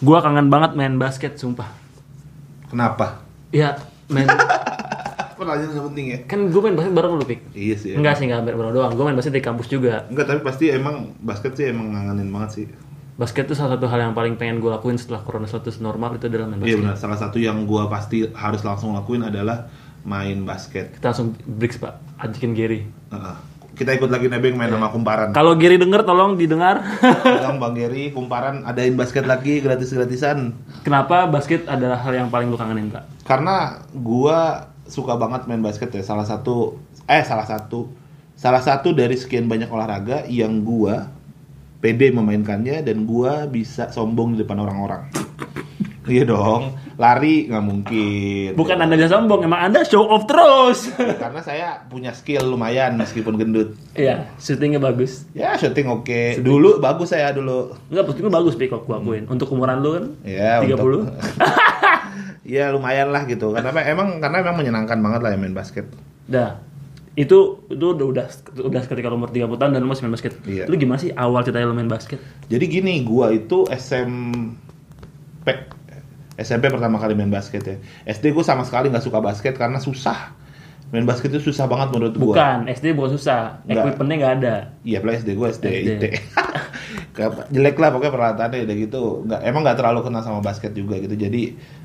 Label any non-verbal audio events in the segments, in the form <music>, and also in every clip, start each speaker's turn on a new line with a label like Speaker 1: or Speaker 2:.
Speaker 1: Gua kangen banget main basket, sumpah.
Speaker 2: Kenapa?
Speaker 1: Ya, main <laughs>
Speaker 2: Pertanyaan yang penting ya.
Speaker 1: kan gue main basket bareng lu, Pik.
Speaker 2: Iya sih.
Speaker 1: Enggak sih, enggak hampir bareng doang. Gue main basket di kampus juga.
Speaker 2: Enggak, tapi pasti emang basket sih emang ngangenin banget sih.
Speaker 1: Basket itu salah satu hal yang paling pengen gue lakuin setelah corona status normal itu adalah main
Speaker 2: Iya
Speaker 1: basket.
Speaker 2: benar. Salah satu yang gua pasti harus langsung lakuin adalah main basket.
Speaker 1: Kita langsung breaks, Pak. Ajakin Gary.
Speaker 2: Heeh. Kita ikut lagi nebeng main
Speaker 1: <laughs>
Speaker 2: sama kumparan.
Speaker 1: Kalau Gary denger tolong didengar. <laughs>
Speaker 2: Bilang Bang Geri, kumparan adain basket lagi gratis-gratisan.
Speaker 1: Kenapa basket adalah hal yang paling lu kangenin, Kak?
Speaker 2: Karena gua suka banget main basket ya. Salah satu eh salah satu salah satu dari sekian banyak olahraga yang gua pede memainkannya dan gua bisa sombong di depan orang-orang. iya dong, lari nggak mungkin.
Speaker 1: Bukan Anda aja sombong, emang Anda show off terus.
Speaker 2: Karena saya punya skill lumayan meskipun gendut.
Speaker 1: Iya, syutingnya bagus.
Speaker 2: Ya shooting oke. Dulu bagus saya dulu.
Speaker 1: Enggak, postingnya bagus, Pik, kalau gue akuin. Untuk umuran lu kan?
Speaker 2: Ya
Speaker 1: 30.
Speaker 2: untuk- <laughs> Iya lumayan lah gitu. Karena emang karena emang menyenangkan banget lah ya main basket.
Speaker 1: Dah. Itu itu udah udah, udah ketika lu umur 30 tahun dan lu masih main basket.
Speaker 2: Iya.
Speaker 1: Lu gimana sih awal ceritanya lu main basket?
Speaker 2: Jadi gini, gua itu SMP SMP pertama kali main basket ya. SD gua sama sekali nggak suka basket karena susah. Main basket itu susah banget menurut gua.
Speaker 1: Bukan, SD bukan susah.
Speaker 2: Enggak.
Speaker 1: Equipmentnya nggak ada.
Speaker 2: Iya, apalagi SD gua SD,
Speaker 1: SD.
Speaker 2: IT. <laughs> Kayak Jelek lah pokoknya peralatannya udah gitu. Nggak, emang nggak terlalu kenal sama basket juga gitu. Jadi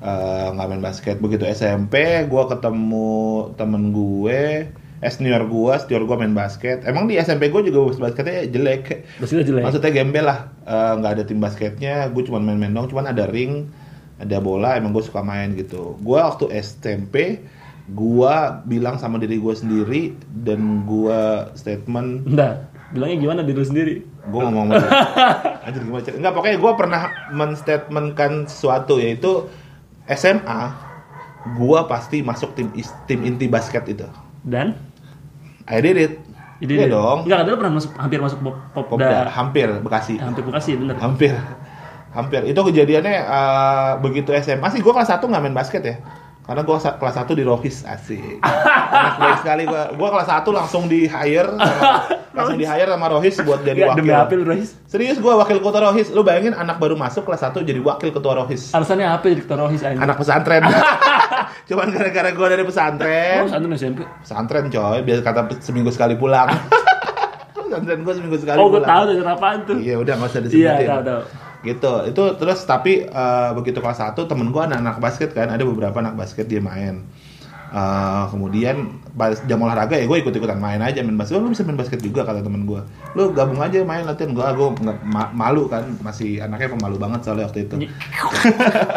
Speaker 2: eh, nggak main basket. Begitu SMP, gua ketemu temen gue, eh, senior gua, senior gua main basket. Emang di SMP gua juga basketnya jelek.
Speaker 1: Basketnya jelek.
Speaker 2: Maksudnya gembel lah, Eh, nggak ada tim basketnya, gue cuma main-main dong, cuman ada ring, ada bola, emang gue suka main gitu. Gue waktu SMP, gue bilang sama diri gue sendiri dan gue statement,
Speaker 1: Enggak. Bilangnya gimana diri lu sendiri?
Speaker 2: gue ngomong apa? <laughs> Anjir gimana? cara- Nggak, pokoknya gue pernah menstatementkan sesuatu yaitu SMA, gue pasti masuk tim is- tim inti basket itu.
Speaker 1: Dan
Speaker 2: I did it.
Speaker 1: Jadi
Speaker 2: Iya dong.
Speaker 1: Enggak, lu pernah masuk hampir masuk pop, pop,
Speaker 2: Popda, hampir Bekasi.
Speaker 1: Hampir Bekasi, bener.
Speaker 2: hampir hampir itu kejadiannya eh, begitu SMA sih gue kelas 1 nggak main basket ya karena gue kelas 1 di Rohis asik Anak baik sekali gue gue kelas 1 langsung di hire
Speaker 1: <laughs>
Speaker 2: langsung di hire sama Rohis buat jadi
Speaker 1: Enggak, demi apa
Speaker 2: wakil
Speaker 1: lu, Rohis?
Speaker 2: serius gue wakil ketua Rohis lu bayangin anak baru masuk kelas 1 jadi wakil ketua Rohis
Speaker 1: Alasannya apa jadi ketua Rohis aja?
Speaker 2: anak pesantren <laughs> cuman gara-gara gue dari pesantren
Speaker 1: Terus Anton SMP.
Speaker 2: pesantren coy biar kata seminggu sekali pulang <laughs> pesantren gue seminggu sekali
Speaker 1: Oh, gue tahu
Speaker 2: pulang
Speaker 1: tuh apaan tuh.
Speaker 2: Iya udah nggak usah
Speaker 1: Iya,
Speaker 2: disebutin.
Speaker 1: tahu tahu.
Speaker 2: gitu itu terus tapi eh, begitu kelas 1 temen gue anak-anak basket kan ada beberapa anak basket dia main Eh, kemudian pas jam olahraga ya gue ikut-ikutan main aja main basket lu bisa main basket juga kata temen gue lu gabung aja main latihan gue gue nggak- ma- malu kan masih anaknya pemalu banget soalnya waktu itu <laughs>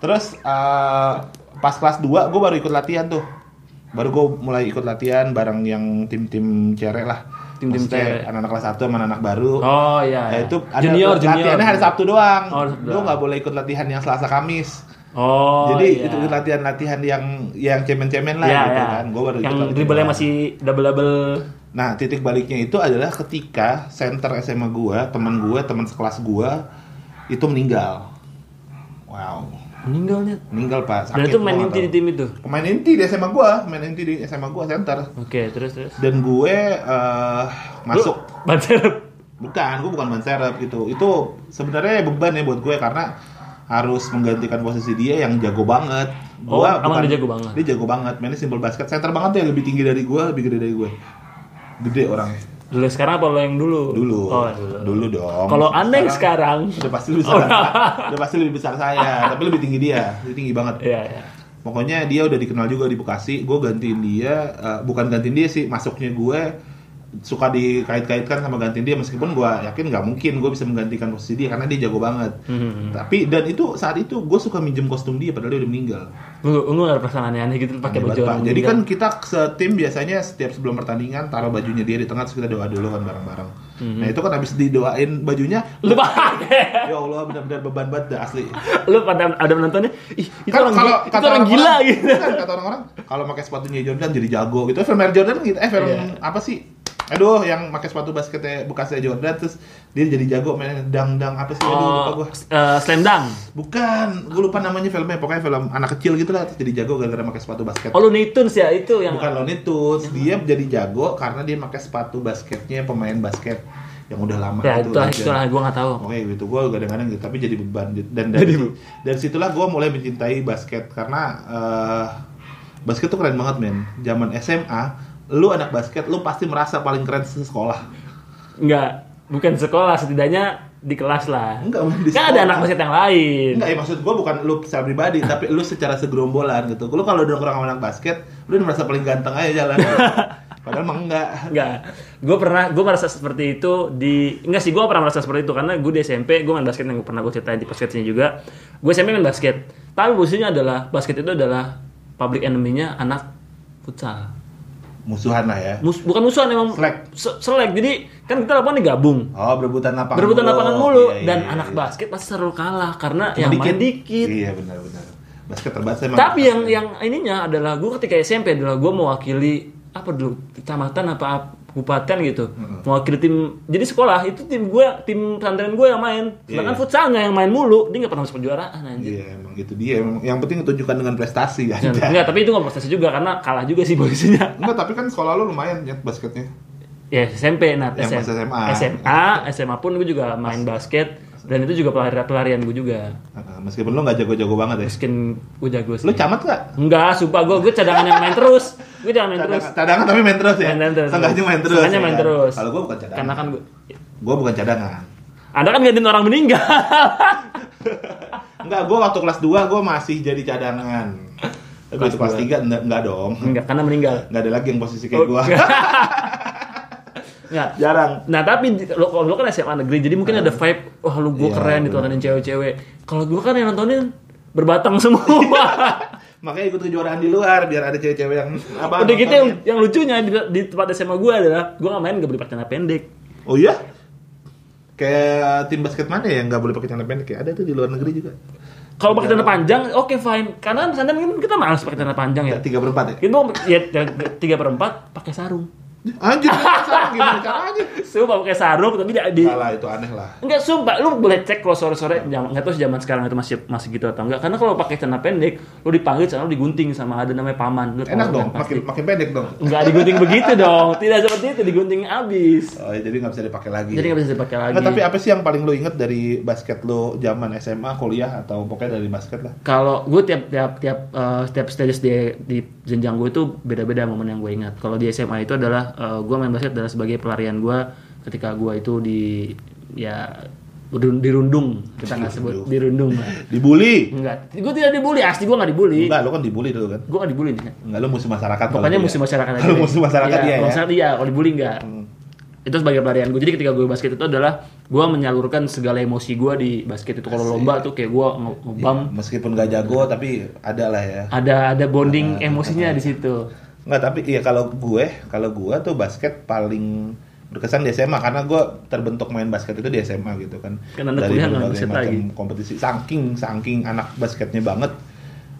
Speaker 2: terus eh, pas kelas 2 gue baru ikut latihan tuh baru gue mulai ikut latihan bareng yang tim-tim cewek lah
Speaker 1: Tim-tim cewek.
Speaker 2: Maksudnya anak-anak kelas 1 sama anak baru
Speaker 1: Oh iya.
Speaker 2: Ya,
Speaker 1: iya.
Speaker 2: itu ada
Speaker 1: junior junior.
Speaker 2: latihannya hari Sabtu doang.
Speaker 1: Oh, hari Sabtu
Speaker 2: lu
Speaker 1: doang.
Speaker 2: nggak boleh ikut latihan yang Selasa Kamis.
Speaker 1: Oh.
Speaker 2: Jadi
Speaker 1: iya.
Speaker 2: itu latihan-latihan yang yang cemen-cemen lah
Speaker 1: Iya,
Speaker 2: gitu
Speaker 1: iya.
Speaker 2: kan. Gue baru ikut
Speaker 1: yang
Speaker 2: latihan
Speaker 1: dribblenya
Speaker 2: doang.
Speaker 1: masih double double.
Speaker 2: Nah, titik baliknya itu adalah ketika center SMA gua, teman gua, teman sekelas gua itu meninggal. Wow,
Speaker 1: Meninggalnya.
Speaker 2: meninggal Pak.
Speaker 1: Dan
Speaker 2: Sakit
Speaker 1: itu main
Speaker 2: gua nggak
Speaker 1: inti di
Speaker 2: tahu.
Speaker 1: tim itu.
Speaker 2: Pemain inti di SMA gua, main inti di SMA gua center.
Speaker 1: Oke, terus terus.
Speaker 2: Dan gue eh, masuk
Speaker 1: Lu- Banser.
Speaker 2: Bukan, gue bukan ban serep gitu. Itu sebenarnya beban ya buat gue karena harus menggantikan posisi dia yang jago banget.
Speaker 1: Oh,
Speaker 2: Gua
Speaker 1: emang dia jago banget?
Speaker 2: Dia jago banget. Mainnya simple basket. Center banget dia lebih tinggi dari gue, lebih gede dari gue. Gede orangnya.
Speaker 1: Dulu yang sekarang apa lo yang dulu?
Speaker 2: Dulu.
Speaker 1: Oh, yang dulu.
Speaker 2: Dulu dong.
Speaker 1: Kalau anda yang sekarang. Oh, iya.
Speaker 2: udah pasti lebih besar. udah pasti lebih besar saya, tapi lebih tinggi dia. Dia tinggi banget.
Speaker 1: Iya, iya.
Speaker 2: Pokoknya dia udah dikenal juga di Bekasi. Gue gantiin dia, eh, bukan gantiin dia sih, masuknya gue suka dikait-kaitkan sama gantiin dia meskipun gue yakin nggak mungkin gue bisa menggantikan posisi dia karena dia jago banget.
Speaker 1: Hmm.
Speaker 2: Tapi dan itu saat itu gue suka minjem kostum dia padahal dia udah meninggal.
Speaker 1: Lu lu ada perasaan aneh-aneh gitu pakai
Speaker 2: Hebat,
Speaker 1: baju
Speaker 2: Pak.
Speaker 1: orang.
Speaker 2: Jadi
Speaker 1: meninggal.
Speaker 2: kan kita setim biasanya setiap sebelum pertandingan taruh bajunya dia di tengah terus kita doa dulu kan bareng-bareng.
Speaker 1: Hmm,
Speaker 2: Nah itu kan habis didoain bajunya,
Speaker 1: lu pakai.
Speaker 2: ya Allah benar-benar beban banget dah asli.
Speaker 1: lu pada ada menontonnya ih itu
Speaker 2: Kan
Speaker 1: orang gila, itu orang gila
Speaker 2: orang-orang-
Speaker 1: gitu
Speaker 2: kan kata orang-orang kalau pakai sepatunya Jordan jadi jago gitu. Film Air Jordan gitu, eh film
Speaker 1: Iya.
Speaker 2: apa sih? aduh yang pakai sepatu basketnya bekasnya Jordan terus dia jadi jago main dang-dang apa sih aduh lupa
Speaker 1: Oh,
Speaker 2: gua.
Speaker 1: eh, slam dunk.
Speaker 2: Bukan, gue lupa namanya filmnya. Pokoknya film anak kecil gitu lah, terus jadi jago gara-gara pakai sepatu basket.
Speaker 1: Oh, Iya. Looney Tunes ya itu yang
Speaker 2: Bukan Looney Tunes, dia jadi jago karena dia pakai sepatu basketnya pemain basket yang udah lama
Speaker 1: Ya,
Speaker 2: gitu
Speaker 1: itu lah,
Speaker 2: aja.
Speaker 1: itu lah gua enggak tahu.
Speaker 2: Oke gitu, gue kadang-kadang gitu, tapi jadi beban dan dari, dari situlah gue mulai mencintai basket karena eh, basket tuh keren banget men. Zaman SMA, lu anak basket, lu pasti merasa paling keren sekolah.
Speaker 1: Enggak, bukan sekolah setidaknya di kelas lah.
Speaker 2: Enggak, men, di
Speaker 1: Kan ada
Speaker 2: sekolah.
Speaker 1: anak basket yang lain.
Speaker 2: Enggak ya maksud gue bukan lu secara pribadi
Speaker 1: <laughs>
Speaker 2: tapi lu secara segerombolan gitu. Lu kalau nongkrong sama anak basket, lu udah merasa paling ganteng aja
Speaker 1: <laughs>
Speaker 2: jalan. Padahal emang enggak.
Speaker 1: Enggak. Gue pernah gue merasa seperti itu di enggak sih gue pernah merasa seperti itu karena gue di SMP gue main basket yang pernah gue ceritain di podcastnya juga. Gue SMP main basket. Tapi posisinya adalah basket itu adalah public enemy-nya anak futsal.
Speaker 2: Musuhan lah ya.
Speaker 1: Mus- bukan musuhan emang
Speaker 2: Selek.
Speaker 1: se- selek. Jadi kan kita lapangan digabung.
Speaker 2: Oh, berebutan lapangan.
Speaker 1: Berebutan
Speaker 2: mulu.
Speaker 1: lapangan mulu
Speaker 2: Iya, iya,
Speaker 1: dan
Speaker 2: iya.
Speaker 1: anak basket pasti selalu kalah karena
Speaker 2: Cuma
Speaker 1: yang main dikit.
Speaker 2: Iya benar benar. Basket terbatas emang.
Speaker 1: Tapi yang yang ininya adalah gue ketika SMP adalah gue mewakili apa dulu kecamatan apa ap- kabupaten gitu mewakili tim jadi sekolah itu tim gue tim pesantren gue yang main sedangkan
Speaker 2: Iya.
Speaker 1: futsalnya yang main mulu dia nggak pernah masuk ah, kejuaraan anjir
Speaker 2: Iya, emang itu dia. Emang- Yang penting tunjukkan dengan prestasi ya. <laughs>
Speaker 1: Jangan- Enggak, tapi itu <laughs> nggak prestasi juga karena kalah juga sih <laughs> posisinya
Speaker 2: Enggak, tapi kan sekolah lu lumayan ya basketnya.
Speaker 1: ya SMP nah
Speaker 2: Yang pas SMA.
Speaker 1: SMA SMA pun gue juga main basket dan itu juga pelarian pelarian gue juga
Speaker 2: Heeh, Meskipun lu nggak jago-jago banget ya.
Speaker 1: miskin gue jago sih
Speaker 2: Lu camat nggak?
Speaker 1: enggak sumpah gue gue cadangan yang main terus gue cadangan main terus
Speaker 2: Cadangan, cadangan tapi main terus ya.
Speaker 1: Main terus.
Speaker 2: Seenggaknya main terus.
Speaker 1: Seenggaknya
Speaker 2: ya
Speaker 1: main
Speaker 2: kan?
Speaker 1: terus.
Speaker 2: Kalau gua bukan cadangan.
Speaker 1: karena kan gue
Speaker 2: Gua bukan cadangan.
Speaker 1: Anda kan gantiin orang meninggal. <laughs>
Speaker 2: Enggak, gue waktu kelas 2 gue masih jadi cadangan. Tapi
Speaker 1: Kelas
Speaker 2: waktu kelas
Speaker 1: dua. Oh,
Speaker 2: 3 enggak, enggak dong.
Speaker 1: Enggak, karena meninggal.
Speaker 2: Enggak ada lagi yang posisi kayak gue.
Speaker 1: Enggak.
Speaker 2: <laughs> Jarang.
Speaker 1: Nah, tapi di- lo kalau lo kan SMA negeri, jadi mungkin ada vibe wah lu gua
Speaker 2: Ah. Iya,
Speaker 1: keren ditontonin cewek-cewek. Kalau gua kan yang nontonin berbatang <laughs> semua.
Speaker 2: Makanya ikut kejuaraan di luar biar ada cewek-cewek yang apa?
Speaker 1: Udah gitu yang,
Speaker 2: nontonnya.
Speaker 1: yang lucunya di, di tempat SMA gua adalah gua nggak main gak beli celana pendek.
Speaker 2: Oh iya? Kayak tim basket mana ya yang nggak boleh pakai celana pendek ya? Ada tuh di luar negeri juga.
Speaker 1: Kalau
Speaker 2: Iya.
Speaker 1: pakai celana panjang, oke fine. Karena pesantren kan kita malas pakai celana panjang ya.
Speaker 2: Ya, 3 per 4 ya?
Speaker 1: Itu ya tiga per empat pakai sarung.
Speaker 2: Anjir, sekarang gimana caranya?
Speaker 1: Sumpah pakai sarung tapi di, di
Speaker 2: Salah, itu aneh lah.
Speaker 1: Enggak sumpah, lu boleh cek kalau sore-sore jam enggak tahu zaman sekarang itu masih masih gitu atau enggak. Karena kalau pakai celana pendek, lu dipanggil celana lu digunting sama ada namanya paman. Lu
Speaker 2: Enak
Speaker 1: tahu
Speaker 2: dong,
Speaker 1: kan pasti.
Speaker 2: makin makin pendek dong.
Speaker 1: Enggak digunting begitu dong. Tidak seperti itu digunting abis.
Speaker 2: Oh, jadi nggak bisa dipakai lagi.
Speaker 1: Jadi nggak bisa dipakai lagi.
Speaker 2: Nggak, Nah, tapi apa sih yang paling lo inget dari basket lo zaman SMA, kuliah atau pokoknya dari basket lah?
Speaker 1: Kalau gue tiap tiap tiap eh, setiap stages di di jenjang gue itu beda-beda momen yang gue ingat. Kalau di SMA itu adalah gue main basket adalah sebagai pelarian gue ketika gue itu di ya dirun- dirundung kita nggak sebut dirundung lah.
Speaker 2: Dibully.
Speaker 1: Enggak, gue tidak dibully, asli gue nggak dibully.
Speaker 2: Enggak, lo kan dibully dulu kan?
Speaker 1: Gue nggak dibully nih.
Speaker 2: Enggak, lo musuh masyarakat. kalau
Speaker 1: Pokoknya
Speaker 2: dia.
Speaker 1: musuh
Speaker 2: <laughs>
Speaker 1: masyarakat aja.
Speaker 2: Kalau
Speaker 1: deh.
Speaker 2: iya. musuh masyarakat Hmm.
Speaker 1: Iya,
Speaker 2: dia
Speaker 1: kalau
Speaker 2: ya.
Speaker 1: masyarakat iya, kalau dibully enggak. Itu sebagai pelarian gue. Jadi ketika gue basket itu adalah gue menyalurkan segala emosi gue di basket itu. Kalau lomba tuh kayak gue nge- ngebam,
Speaker 2: Meskipun gak jago, tapi ada lah ya.
Speaker 1: ada ada bonding
Speaker 2: Nah,
Speaker 1: emosinya di situ.
Speaker 2: Enggak, tapi iya kalau gue, kalau gue tuh basket paling berkesan di SMA karena gue terbentuk main basket itu di SMA gitu kan.
Speaker 1: Kan anda kuliah nggak
Speaker 2: berbagai
Speaker 1: basket
Speaker 2: macam
Speaker 1: lagi.
Speaker 2: kompetisi. Saking saking anak basketnya banget.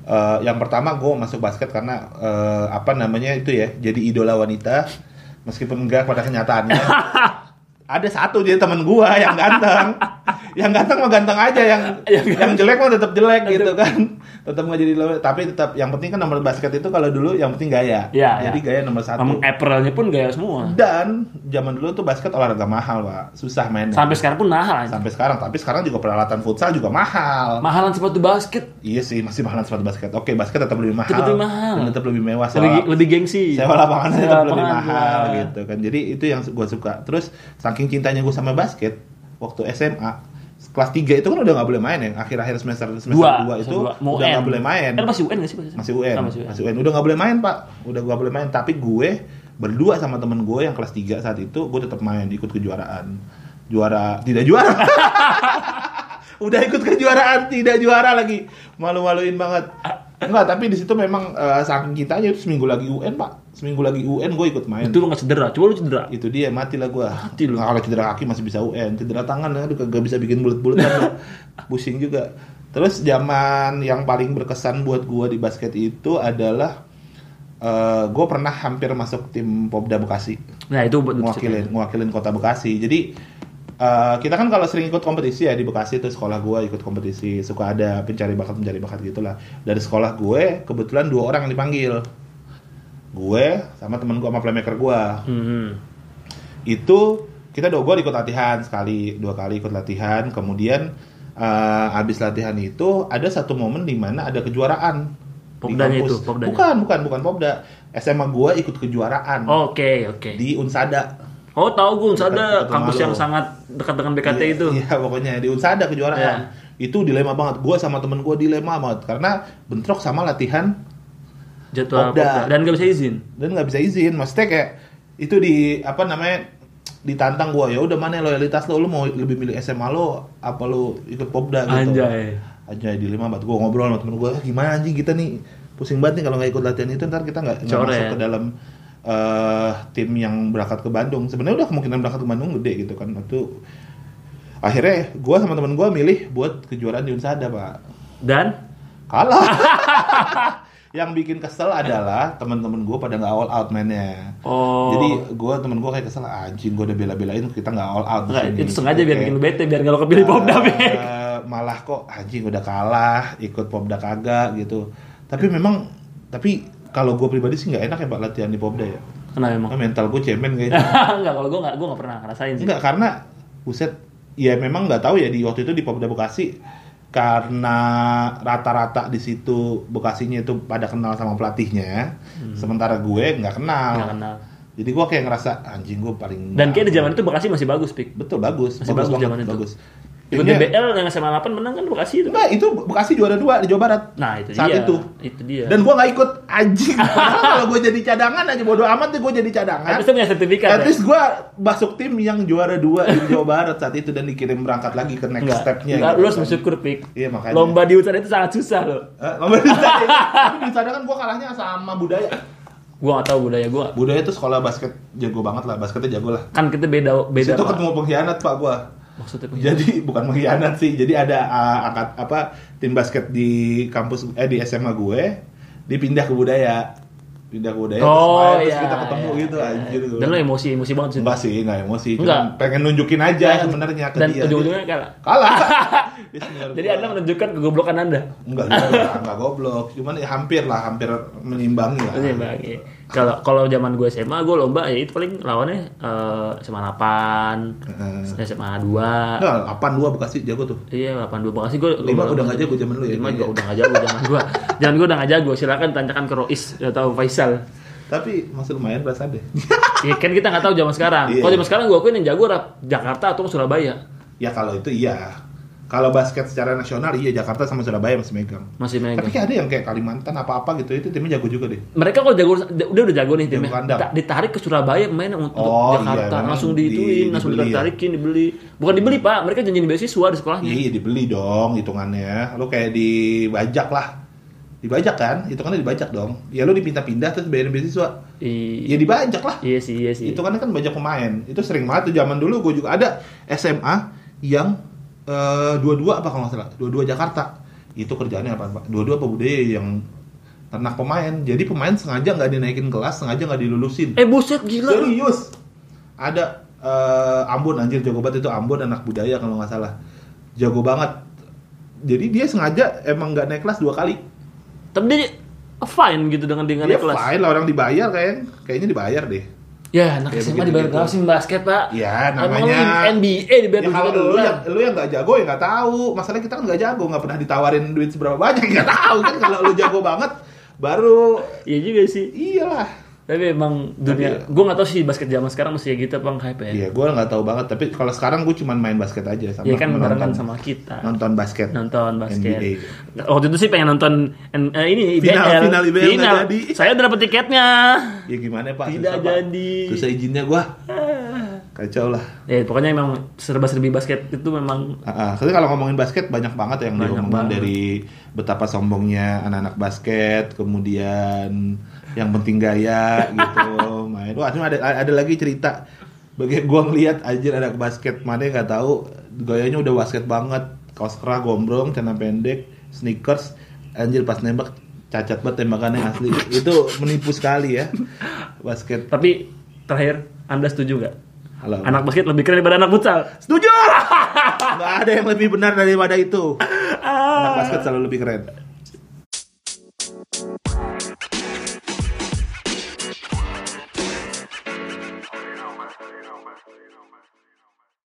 Speaker 2: Eh, yang pertama gue masuk basket karena eh, apa namanya itu ya, jadi idola wanita meskipun enggak pada kenyataannya.
Speaker 1: <laughs>
Speaker 2: Ada satu dia temen gua yang ganteng. yang ganteng mah ganteng aja, yang
Speaker 1: Iya, kan?
Speaker 2: yang jelek mah tetap jelek gitu kan. Tetap nggak jadi idola. tapi tetap yang penting kan nomor basket itu kalau dulu yang penting gaya.
Speaker 1: Iya,
Speaker 2: jadi
Speaker 1: iya.
Speaker 2: gaya nomor
Speaker 1: Ngomong
Speaker 2: satu. Hmm.
Speaker 1: apparelnya pun gaya semua.
Speaker 2: Dan zaman dulu tuh basket olahraga mahal, Pak. Susah mainnya.
Speaker 1: Sampai sekarang pun mahal. anjing.
Speaker 2: Sampai sekarang, tapi sekarang juga peralatan futsal juga mahal.
Speaker 1: Mahalan sepatu basket
Speaker 2: iya sih, masih mahalan sepatu basket. Oke, basket tetap lebih mahal.
Speaker 1: Tetap lebih mahal.
Speaker 2: Dan tetap lebih mewah.
Speaker 1: lebih
Speaker 2: Sewa,
Speaker 1: lebih gengsi.
Speaker 2: sewa lapangan
Speaker 1: Iya. Sewa
Speaker 2: tetap lebih
Speaker 1: lapangan,
Speaker 2: mahal
Speaker 1: iya.
Speaker 2: gitu kan. Jadi itu yang gue suka. Terus saking cintanya gue sama basket, waktu SMA kelas 3 itu kan udah nggak boleh main ya. Akhir-akhir semester semester 2 itu
Speaker 1: dua. Mau
Speaker 2: udah
Speaker 1: UN.
Speaker 2: nggak boleh main.
Speaker 1: Kan masih UN nggak sih? Pak?
Speaker 2: masih UN,
Speaker 1: Ah,
Speaker 2: masih UN. Udah nggak boleh main pak, udah nggak boleh main. Tapi gue berdua sama temen gue yang kelas 3 saat itu, gue tetap main ikut kejuaraan. Juara tidak juara. <laughs> udah ikut kejuaraan tidak juara lagi. Malu-maluin banget. Enggak, tapi di situ memang eh, saking kita aja itu seminggu lagi UN pak, seminggu lagi UN gue ikut main.
Speaker 1: Itu lu nggak cedera, coba lu cedera.
Speaker 2: Itu dia mati lah gue.
Speaker 1: Mati lu.
Speaker 2: Nah, kalau cedera kaki masih bisa UN, cedera tangan aduh kagak bisa bikin bulat-bulatan. lu. Pusing juga. Terus zaman yang paling berkesan buat gua di basket itu adalah eh, gue pernah hampir masuk tim Popda Bekasi
Speaker 1: Nah itu buat
Speaker 2: mewakilin mewakilin kota Bekasi jadi eh, kita kan kalau sering ikut kompetisi ya di Bekasi tuh sekolah gue ikut kompetisi suka ada pencari bakat pencari bakat gitulah dari sekolah gue kebetulan dua orang yang dipanggil gue sama temen gue sama playmaker gue
Speaker 1: Hmm.
Speaker 2: itu kita dua gue ikut latihan sekali dua kali ikut latihan kemudian eh, abis latihan itu ada satu momen di mana ada kejuaraan di
Speaker 1: Popdanya
Speaker 2: kampus.
Speaker 1: itu, popdanya.
Speaker 2: bukan bukan bukan popda SMA gue ikut kejuaraan
Speaker 1: Oh. Oke oke.
Speaker 2: di Unsada
Speaker 1: Oh tahu gue
Speaker 2: Dekat-
Speaker 1: ada
Speaker 2: dekat
Speaker 1: kampus
Speaker 2: rumah
Speaker 1: yang
Speaker 2: lo.
Speaker 1: sangat dekat dengan BKT
Speaker 2: Iya,
Speaker 1: itu. Iya.
Speaker 2: Iya, pokoknya di Unsada kejuaraan. Itu dilema banget. Gua sama temen gua dilema banget karena bentrok sama latihan
Speaker 1: Jadwal
Speaker 2: Popda.
Speaker 1: popda. dan gak bisa izin.
Speaker 2: dan nggak bisa izin. Maksudnya kayak itu di apa namanya ditantang gua ya udah mana loyalitas lo lu mau lebih milih SMA lo apa lo ikut popda gitu
Speaker 1: Anjay.
Speaker 2: anjay dilema banget gua ngobrol sama temen gua "Ah, gimana anjing kita nih pusing banget nih kalau nggak ikut latihan itu ntar kita nggak nggak
Speaker 1: Coret.
Speaker 2: masuk ke dalam eh, tim yang berangkat ke Bandung sebenarnya udah kemungkinan berangkat ke Bandung gede gitu kan itu akhirnya gua sama temen gua milih buat kejuaraan di Unsada pak
Speaker 1: Dan <laughs>
Speaker 2: kalah yang bikin kesel adalah teman-teman gue pada nggak all out mainnya
Speaker 1: oh.
Speaker 2: jadi gue temen gue kayak kesel "Ah, anjing gue udah bela-belain kita nggak all out di
Speaker 1: Nggak,
Speaker 2: sini." gitu kan.
Speaker 1: itu sengaja biar
Speaker 2: Kayak,
Speaker 1: bikin lu bete biar gak lo kepilih ya. popda
Speaker 2: "Eh,
Speaker 1: be.
Speaker 2: malah kok anjing udah kalah ikut popda kagak gitu tapi memang tapi kalau gue pribadi sih nggak enak ya pak latihan di popda ya
Speaker 1: Kenapa emang?
Speaker 2: Karena mental gue cemen
Speaker 1: <laughs>
Speaker 2: kayaknya
Speaker 1: Enggak kalau gue nggak gue nggak pernah ngerasain sih.
Speaker 2: Enggak karena buset ya memang nggak tahu ya di waktu itu di Popda Bekasi karena rata-rata di situ Bekasinya itu pada kenal sama pelatihnya, ya. sementara gue nggak kenal.
Speaker 1: Hmm. Nggak kenal.
Speaker 2: Jadi gue kayak ngerasa anjing gue paling
Speaker 1: Dan kayak di zaman itu Bekasi masih bagus pik.
Speaker 2: betul bagus,
Speaker 1: Masih bagus
Speaker 2: banget,
Speaker 1: zaman itu.
Speaker 2: bagus.
Speaker 1: Ikut
Speaker 2: Timnya-
Speaker 1: DBL yang SMA 8 menang kan Bekasi itu.
Speaker 2: Enggak, itu Bekasi juara dua di Jawa Barat.
Speaker 1: Nah itu
Speaker 2: Saat
Speaker 1: dia. Iya.
Speaker 2: itu.
Speaker 1: Itu dia.
Speaker 2: Dan gue nggak ikut anjing. Padahal Kalau gue jadi cadangan aja bodo amat deh gue jadi cadangan.
Speaker 1: Habis itu punya sertifikat.
Speaker 2: At
Speaker 1: ya?
Speaker 2: least gue masuk tim yang juara dua di Jawa Barat saat itu dan dikirim berangkat lagi ke next
Speaker 1: Enggak.
Speaker 2: stepnya.
Speaker 1: Enggak,
Speaker 2: gitu
Speaker 1: Lu harus
Speaker 2: kan.
Speaker 1: bersyukur pik.
Speaker 2: Iya makanya.
Speaker 1: Lomba di Unsur itu sangat susah loh.
Speaker 2: Eh, <laughs> lomba di sana. Tapi di sana kan gue kalahnya sama budaya.
Speaker 1: Gue nggak tahu budaya gue.
Speaker 2: Budaya tuh sekolah basket jago banget lah, basketnya jago lah.
Speaker 1: Kan kita beda beda.
Speaker 2: Situ
Speaker 1: Pak.
Speaker 2: ketemu pengkhianat pak gue.
Speaker 1: Maksudnya pik.
Speaker 2: Jadi bukan pengkhianat sih. Jadi ada uh, angkat apa tim basket di kampus eh di SMA gue dipindah ke budaya pindah ke budaya terus main, terus, kita ketemu
Speaker 1: Oh, iya,
Speaker 2: gitu
Speaker 1: iya.
Speaker 2: anjir
Speaker 1: Dan lo emosi emosi banget sih.
Speaker 2: enggak sih enggak emosi cuma
Speaker 1: Enggak.
Speaker 2: pengen nunjukin aja
Speaker 1: Dan-
Speaker 2: sebenarnya ke
Speaker 1: Dan
Speaker 2: dia
Speaker 1: ujung-ujungnya kalah. <laughs>
Speaker 2: kalah Dia senior
Speaker 1: Jadi
Speaker 2: gua.
Speaker 1: anda menunjukkan kegoblokan anda.
Speaker 2: enggak juga enggak goblok cuman ya hampir lah hampir menimbangi lah
Speaker 1: Iya bang. iya. Kalau kalau zaman gue SMA gue lomba ya itu paling lawannya eh, SMA 8,
Speaker 2: Heeh.
Speaker 1: SMA 2.
Speaker 2: enggak 82 Bekasi jago tuh
Speaker 1: Iya, 82 Bekasi gue
Speaker 2: Lima udah nggak jago zaman lu ya,
Speaker 1: 5
Speaker 2: kayaknya.
Speaker 1: juga udah nggak jago zaman gue Jangan gue udah nggak jago, silakan tanyakan ke Rois atau Faisal
Speaker 2: tapi masih lumayan perasaan deh
Speaker 1: Ya kan kita nggak tahu zaman sekarang
Speaker 2: Iya.
Speaker 1: Kalau zaman sekarang gue akuin yang jago rap Jakarta atau Surabaya
Speaker 2: ya kalau itu iya kalau basket secara nasional iya Jakarta sama Surabaya masih megang
Speaker 1: Masih
Speaker 2: tapi
Speaker 1: megang
Speaker 2: kayak ada yang kayak Kalimantan apa-apa gitu itu timnya jago juga deh
Speaker 1: mereka kalau jago udah udah jago nih
Speaker 2: Jago
Speaker 1: timnya
Speaker 2: kandang.
Speaker 1: Ta- ditarik ke Surabaya main untuk
Speaker 2: Oh, iya,
Speaker 1: Jakarta
Speaker 2: memang
Speaker 1: langsung
Speaker 2: di-
Speaker 1: diituin langsung
Speaker 2: dibeli ya.
Speaker 1: ditarikin dibeli bukan dibeli pak mereka janjiin beasiswa di sekolahnya
Speaker 2: iya dibeli dong hitungannya lu kayak dibajak lah dibajak kan hitungannya dibajak dong ya lu dipindah-pindah terus bayarin beasiswa
Speaker 1: I-
Speaker 2: ya dibajak lah
Speaker 1: iya sih iya sih
Speaker 2: itu kan kan banyak pemain itu sering banget tuh zaman dulu gue juga ada SMA yang eh, dua-dua apa kalau nggak salah dua-dua Jakarta itu kerjaannya apa pak dua-dua apa budaya yang ternak pemain jadi pemain sengaja nggak dinaikin kelas sengaja nggak dilulusin
Speaker 1: eh buset gila
Speaker 2: serius ada eh, Ambon anjir jago banget itu Ambon anak budaya kalau nggak salah jago banget jadi dia sengaja emang nggak naik kelas dua kali
Speaker 1: tapi dia fine gitu dengan dengan
Speaker 2: dia
Speaker 1: kelas
Speaker 2: fine lah orang dibayar kayak kayaknya dibayar deh
Speaker 1: ya anak
Speaker 2: Ya,
Speaker 1: SMA
Speaker 2: begitu-gitu.
Speaker 1: dibayar berapa sih basket pak
Speaker 2: ya
Speaker 1: Emang
Speaker 2: namanya
Speaker 1: lu NBA dibayar
Speaker 2: Ya
Speaker 1: berapa
Speaker 2: kalau lu
Speaker 1: dolar?
Speaker 2: yang lu yang nggak jago ya nggak tahu. Masalahnya kita kan nggak jago, nggak pernah ditawarin duit seberapa banyak <laughs> nggak tahu kan. Kalau lu jago banget, baru
Speaker 1: Iya juga sih.
Speaker 2: iyalah.
Speaker 1: Tapi emang dunia, gue nggak tahu sih basket zaman sekarang masih kayak gitu apa hype ya.
Speaker 2: ya. Iya, gue nggak tahu banget. Tapi kalau sekarang gue cuman main basket aja sama
Speaker 1: Ya kan barengan
Speaker 2: menonton,
Speaker 1: sama kita
Speaker 2: nonton basket.
Speaker 1: nonton
Speaker 2: NBA.
Speaker 1: basket. Waktu itu sih pengen nonton N- eh, ini
Speaker 2: Final,
Speaker 1: IBL.
Speaker 2: final IBL nggak
Speaker 1: Final.
Speaker 2: jadi. <laughs>
Speaker 1: Saya udah dapet tiketnya.
Speaker 2: Ya gimana pak?
Speaker 1: Tidak
Speaker 2: Pak.
Speaker 1: jadi. Ah.
Speaker 2: Susah izinnya gue. Kacau lah.
Speaker 1: Ya pokoknya emang serba-serbi basket itu memang
Speaker 2: Ah, ah. Tapi kalau ngomongin basket banyak banget yang
Speaker 1: Banyak
Speaker 2: diomongin
Speaker 1: banget.
Speaker 2: dari betapa sombongnya anak-anak basket, kemudian yang penting
Speaker 1: <laughs>
Speaker 2: gaya gitu. Main. Wah, cuma ada ada lagi cerita. Bagi gua ngeliat anjir anak basket mana nggak tahu gayanya udah basket banget. Kaos kerah, gombrong, celana pendek, sneakers. Anjir pas nembak cacat banget tembakannya asli itu menipu sekali ya basket
Speaker 1: Tapi terakhir, Anda setuju nggak?
Speaker 2: halo
Speaker 1: Anak basket lebih keren daripada anak futsal. Setuju. <laughs>
Speaker 2: nggak ada yang lebih benar daripada itu anak basket selalu lebih keren